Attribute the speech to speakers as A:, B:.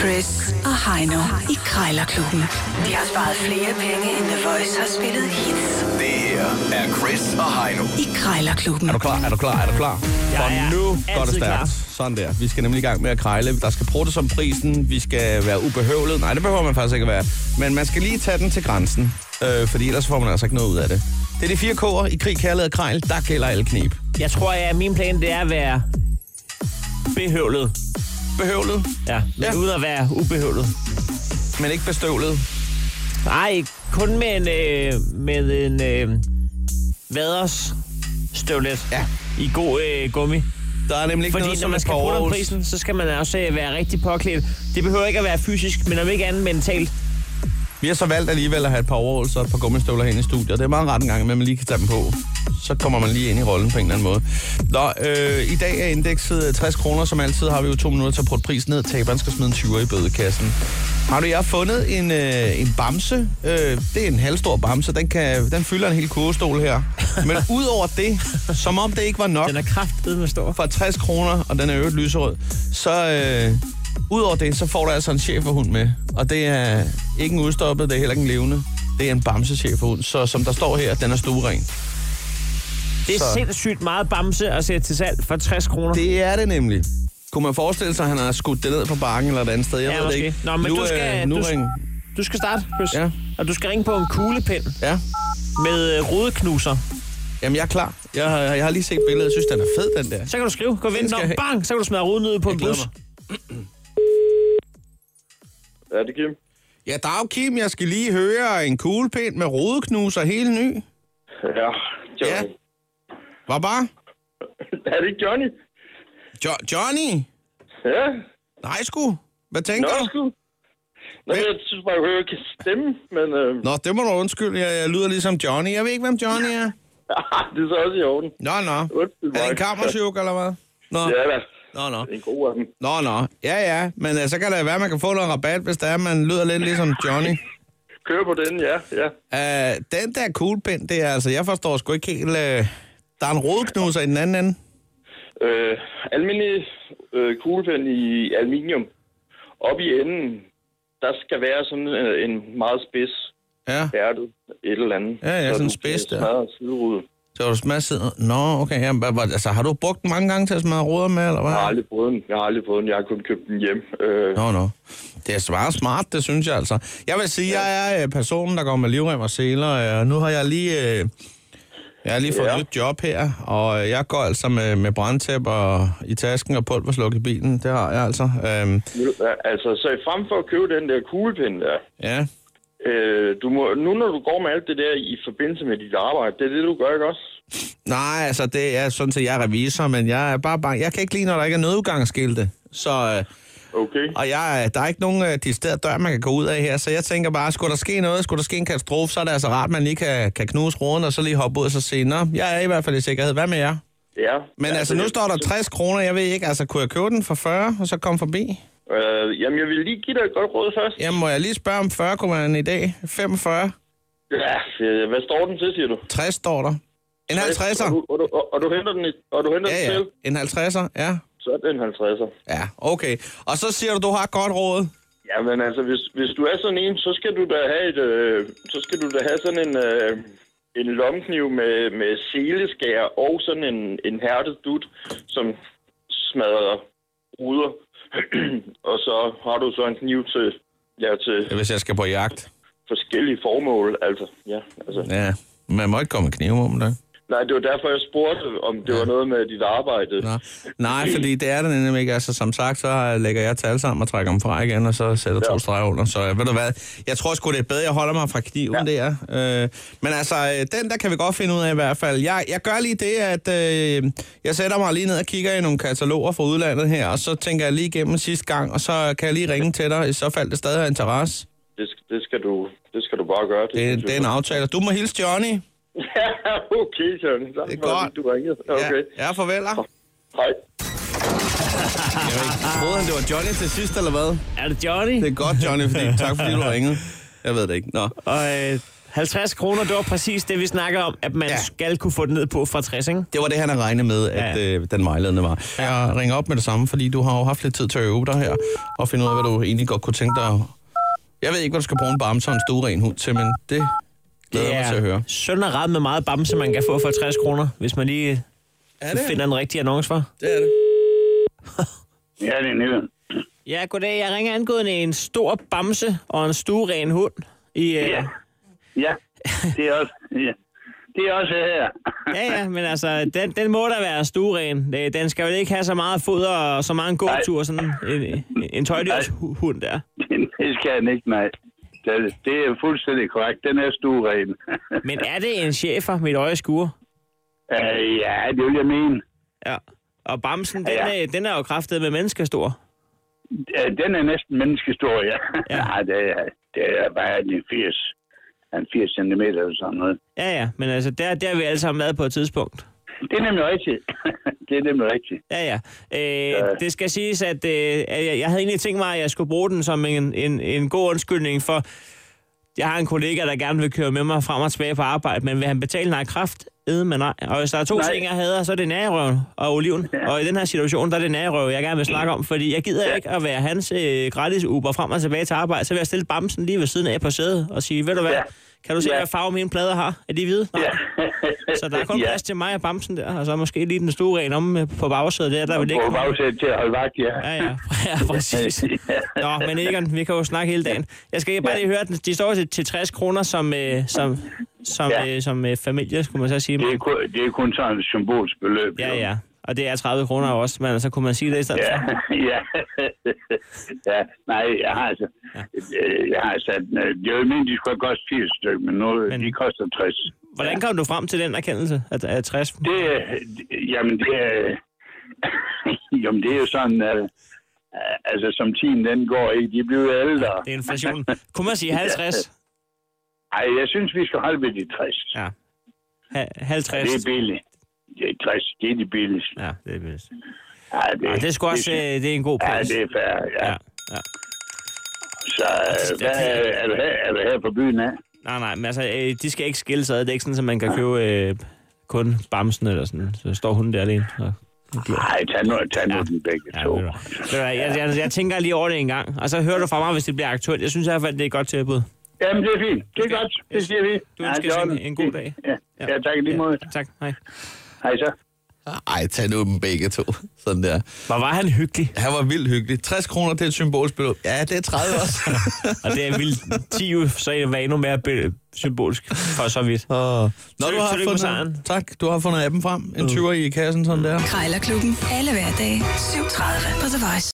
A: Chris og Heino i Krejlerklubben. De har sparet flere penge, end The Voice har spillet hits
B: Det her er Chris og Heino.
A: i Krejlerklubben.
C: Er du klar? Er du klar? Er du klar?
D: Jeg er
C: For nu går det
D: altid
C: stærkt.
D: klar.
C: Sådan der. Vi skal nemlig i gang med at krejle. Der skal prutte som prisen. Vi skal være ubehøvlet. Nej, det behøver man faktisk ikke at være. Men man skal lige tage den til grænsen. Øh, fordi ellers får man altså ikke noget ud af det. Det er de fire K'er i krig, kærlighed og krejl. Der gælder alle knep.
D: Jeg tror, at min plan det er at være behøvlet.
C: Behøvlet,
D: Ja, men
C: Ja.
D: ja. uden at være ubehøvlet.
C: men ikke bestøvlet.
D: Nej, kun med en, øh, med en øh, vaders støvlet
C: Ja.
D: i god øh, gummi.
C: Der er nemlig ikke
D: Fordi
C: noget,
D: når
C: som
D: man
C: et
D: skal
C: par
D: bruge
C: års-
D: den prisen, så skal man også øh, være rigtig påklædt. Det behøver ikke at være fysisk, men om ikke andet mentalt.
C: Vi har så valgt alligevel at have et par overholds og et par gummistøvler herinde i studiet. og Det er meget rart en gang, at man lige kan tage dem på. Så kommer man lige ind i rollen på en eller anden måde. Nå, øh, i dag er indekset 60 kroner. Som altid har vi jo to minutter til at putte prisen ned. Taberen skal smide en 20'er i bødekassen. Har du jeg har fundet en, øh, en bamse? Øh, det er en halvstor bamse. Den, kan, den fylder en hel kurvestol her. Men udover det, som om det ikke var nok
D: Den er kraftedeme stor.
C: for 60 kroner, og den er i øvrigt lyserød, så øh, udover det, så får du altså en cheferhund med. Og det er ikke en udstoppet, det er heller ikke en levende. Det er en bamsecheferhund, så som der står her, den er stueren.
D: Det er
C: Så-
D: så. sindssygt meget bamse at sætte til salg for 60 kroner.
C: Det er det nemlig. Kunne man forestille sig, at han har skudt det ned på bakken eller et andet sted? Jeg
D: Ja,
C: ved det
D: måske.
C: ikke.
D: Nå, men
C: nu,
D: du skal-
C: Øh, nu
D: du-
C: ring.
D: Du skal starte, Chris.
C: Ja.
D: Og du skal ringe på en kuglepind
C: Ja.
D: med øh, rodeknuser.
C: Jamen, jeg er klar. Jeg, har- jeg har lige set billedet. Jeg synes, den er fed, den der.
D: Så kan du skrive, gå og
C: Den
D: vente
C: skal
D: om,
C: jeg have.
D: bang, så kan du smadre ruden ud på en
C: Jeg glæder
D: bus.
C: mig.
E: Ja, det er Kim.
C: Ja, dag Kim, jeg skal lige høre en kuglepind med rodeknuser helt ny.
E: Ja, Johnny.
C: Hvad bare?
E: Ja. Er det ikke Johnny?
C: Jo- Johnny?
E: Ja,
C: Nej, sgu. Hvad tænker
E: nå
C: du?
E: sgu. Nå, men jeg synes bare, at jeg ikke kan stemme, men øh,
C: Nå, det må du undskylde. Jeg, jeg lyder ligesom Johnny. Jeg ved ikke, hvem Johnny er.
E: det er så også i orden.
C: Nå, nå.
E: Undskyld
C: Er det en
E: mig.
C: kammersjuk, eller hvad? Nå,
E: Ja, da.
C: nå, nå.
E: Det er en god af dem.
C: Nå, nå. Ja, ja. Men uh, så kan det være, at man kan få noget rabat, hvis der er, man lyder lidt ligesom Johnny.
E: Kør på den, ja, ja.
C: Uh, den der kuglepind, det er altså... Jeg forstår sgu ikke helt... Uh, der er en rodeknuser i den anden ende.
E: Øh, almindelig øh, kuglepen i aluminium. Oppe i enden, der skal være sådan øh, en meget spids
C: Ja.
E: hærdet et eller andet.
C: Ja, ja,
E: så
C: sådan
E: du kan
C: spids der.
E: smadre siderude.
C: Så er du smadret siden. Nå, okay. Jamen, hvad- hvad- altså, har du brugt den mange gange til at smadre ruder med, eller hvad?
E: Jeg har aldrig fået den. Jeg har aldrig fået den. Jeg har kun købt den hjem. Øh,
C: Nå, nå. Det er svært smart, det synes jeg altså. Jeg vil sige, jeg er øh, personen, der går med livrem og seler, øh, og nu har jeg lige, øh, jeg har lige fået ja.
E: Ja.
C: et nyt job her, og øh, jeg går altså med, med brandtæp og, i tasken og pulversluk i bilen. Det har jeg altså. Øhm,
E: altså, så i frem for at købe den der kuglepen der,
C: ja.
E: Øh, du må, nu når du går med alt det der i forbindelse med dit arbejde, det er det, du gør, ikke også?
C: Nej, altså, det er sådan set, jeg er revisor, men jeg er bare bange. Jeg kan ikke lide, når der ikke er nødudgangsskilte. Så, øh,
E: Okay.
C: og jeg, øh, der er ikke nogen øh, distilleret dør, man kan gå ud af her, så jeg tænker bare, skulle der ske noget, skulle der ske en katastrofe, så er det altså rart, man lige kan, kan knuse roden og så lige hoppe ud og så sige, nå, jeg er i hvert fald i sikkerhed, hvad med jer?
E: Ja.
C: Men altså, nu står der 60 kroner, jeg ved ikke, altså kunne jeg købe den for 40 og så komme forbi?
E: Øh, jamen, jeg vil lige give dig et godt råd først.
C: Jamen, må jeg lige spørge om 40 kunne man i dag? 45?
E: Ja, øh, hvad står den til, siger du?
C: 60 står der. En 50'er?
E: Og du, og, du, og, og du henter den, i- og du henter
C: Ja, ja.
E: den til,
C: En 50'er, ja.
E: så er det en 50'er.
C: Ja, okay. Og så siger du, du har et godt råd.
E: Jamen altså, hvis, hvis du er sådan en, så skal du da have, et, øh, så skal du da have sådan en, øh, en lomkniv med, med seleskær og sådan en, en hærdet dut, som smadrer ruder. og så har du så en kniv til, ja, til
C: Hvis jeg skal på jagt.
E: forskellige formål. Altså, ja, altså.
C: Ja, man må ikke komme med knive om det.
E: Nej, det var derfor, jeg spurgte, om det ja. var noget med dit arbejde.
C: Nå. Nej, fordi det er det nemlig ikke. Altså, som sagt, så lægger jeg tal sammen og trækker dem fra igen, og så sætter ja. to
E: Ja.
C: streger under. Så øh, ved du hvad, jeg tror sgu, det er bedre, jeg holder mig fra kniven ja. der. Øh, men altså, øh, den der kan vi godt finde ud af i hvert fald. Jeg, jeg gør lige det, at øh, jeg sætter mig lige ned og kigger i nogle kataloger fra udlandet her, og så tænker jeg lige igennem sidste gang, og så kan jeg lige ringe til dig, i så fald det stadig har interesse.
E: Det, sk- det, skal du, det skal du bare gøre.
C: Det,
E: synes
C: det er
E: jeg.
C: en aftale. Du må hilse Johnny.
E: Ja, okay, Søren. Tak
C: Det er
E: for, at
C: godt.
E: Du ringede. Okay. Ja.
C: Ja, ja farveler.
E: Hej.
C: Jeg ved ikke, troede han, det var Johnny til sidst, eller hvad?
D: Er det Johnny?
C: Det er godt, Johnny, fordi, tak fordi du ringede. Jeg ved det ikke. Nå.
D: Og øh, 50 kroner, det var præcis det, vi snakker om, at man
C: Ja.
D: ja. skal kunne få det ned på fra 60, ikke?
C: Det var det, han havde regnet med, at
D: Ja.
C: øh, den vejledende var. Jeg ringer op med det samme, fordi du har jo haft lidt tid til at øve dig her, og finde ud af, hvad du egentlig godt kunne tænke dig. at- Jeg ved ikke, hvad du skal bruge en bamse og en stueren hund til, men det glæder jeg mig til at høre.
D: Søn er ret med meget bamse, man kan få for 60 kroner, hvis man lige
C: Er
D: ja, finder en rigtig annonce for.
C: Det er det.
F: Ja, det er Nielsen.
D: Ja, goddag. Jeg ringer angående en stor bamse og en stueren hund. I, øh...
F: Ja. Ja, det er også, ja. det er også her.
E: eh.
D: ja, ja, men altså, den, den må da være stueren. Øh, Den skal jo ikke have så meget foder og så meget en gåtur, sådan en, en- en tøjdyrshund der.
F: Det skal han ikke, nej. Det- Det er fuldstændig korrekt. Den er stueren.
D: Men er det en chefer, mit øje skuer?
F: Øh, ja, det vil jeg mene.
D: Ja. Og bamsen, den,
F: Ja.
D: ja. er, den er jo kraftet med menneskestor.
F: Øh, Den er næsten menneskestor, ja.
D: Ja.
F: Nej, det er, det er bare en 80, en 80 cm eller sådan noget.
D: Ja, ja, men altså, der, der har vi alle sammen været på et tidspunkt.
F: Det er nemlig rigtigt. det er nemlig rigtigt.
D: Ja, ja. Øh, det skal siges, at, øh, at jeg, jeg havde egentlig tænkt mig, at jeg skulle bruge den som en, en, en god undskyldning for, jeg har en kollega, der gerne vil køre med mig frem og tilbage på arbejde, men vil han betale nej kraft? Ede med nej. Og hvis der er to
F: Nej.
D: nej. ting, jeg hader, så er det nærerøven og oliven. Ja. Og i den her situation, der er det nærerøv, jeg gerne vil snakke om, fordi jeg gider ja. ikke at være hans øh, gratis Uber frem og tilbage til arbejde. Så vil jeg stille bamsen lige ved siden af på sædet og sige, ved du hvad,
F: Ja.
D: ja. kan du se,
F: Ja.
D: ja. hvad farve mine plader har? Er de hvide? Nej. Så der er kun
F: Ja.
D: ja. plads til mig og Bamsen der, og så måske lige den store ren om øh, på bagsædet der, der vil ikke...
F: På bagsædet til at holde vagt, ja.
D: Ja, ja, ja, præcis. Nå, men Egon, vi kan jo snakke hele dagen. Jeg skal bare lige høre, den- de står til, til 60 kroner som, øh, som, som,
F: Ja.
D: øh, som øh, familie, skulle man så sige.
F: Det er, kun, det er kun sådan et symbolsk beløb.
D: Ja,
F: jo.
D: ja. Og det er 30 kroner også, men så kunne man sige det i stedet
F: Ja,
D: for.
F: ja. ja, nej, jeg har altså, øh, jeg har altså, det var meningen, de skulle have kostet 80 stykker, men nu, men...
D: Men-
F: de koster 60.
D: Hvordan kom du frem til den erkendelse af, af 60?
F: Det, øh, jamen, det er, jamen, det er jo sådan, øh, altså, som tiden den går, ikke? De bliver jo ældre.
D: Det er inflation. Kunne man sige 50?
F: Ej, jeg synes, vi skal holde ved de 60.
D: Ja. Ha-
F: Det
D: 50.
F: er billigt. Det er 60, det er de billigste.
D: Ja, det er bedst.
F: Ej,
D: Ja, det er sgu også øh,
F: synes-
D: det er en god
F: Ja,
D: pris.
F: det er fair, ja.
D: Ja, ja.
F: Så øh, hvad, er, du her, er du her på byen af?
D: Nej, nej, men altså, øh, de skal ikke skille sig ad. Det er ikke sådan, at man kan købe øh, kun bamsen eller sådan. Så står hun der alene. Og...
F: Nej, tag nu, tag nu ja. den begge
D: Ja,
F: to.
D: ved du hvad. Ved du hvad, jeg, jeg, jeg, tænker lige over det en gang, og så hører du fra mig, hvis det bliver aktuelt. Jeg synes i hvert fald, det er et godt tilbud.
F: Jamen, det er fint. Det er godt. Det siger vi.
D: Du ønsker
F: det er
D: os en-
F: ordentligt.
D: en god dag.
F: Ja, ja tak i lige måde.
D: Tak, hej.
F: Hej så.
C: Ej, tag nu dem begge to. Sådan der.
D: Hvor var han hyggelig,
C: Han var vildt hyggelig. 60 kroner, det er et symbolsk beløb. Ja, det er 30 også.
D: og det er vildt 10 jo, så er det var endnu mere be- symbolsk for så vidt.
C: Og... Nå,
D: Tillykke- tillykke med sejren.
C: Tak, du har
D: Mm.
C: fundet appen frem. En 20'er i kassen, sådan der.
A: Krejlerklubben. Alle hverdage. 7.30 på The Voice.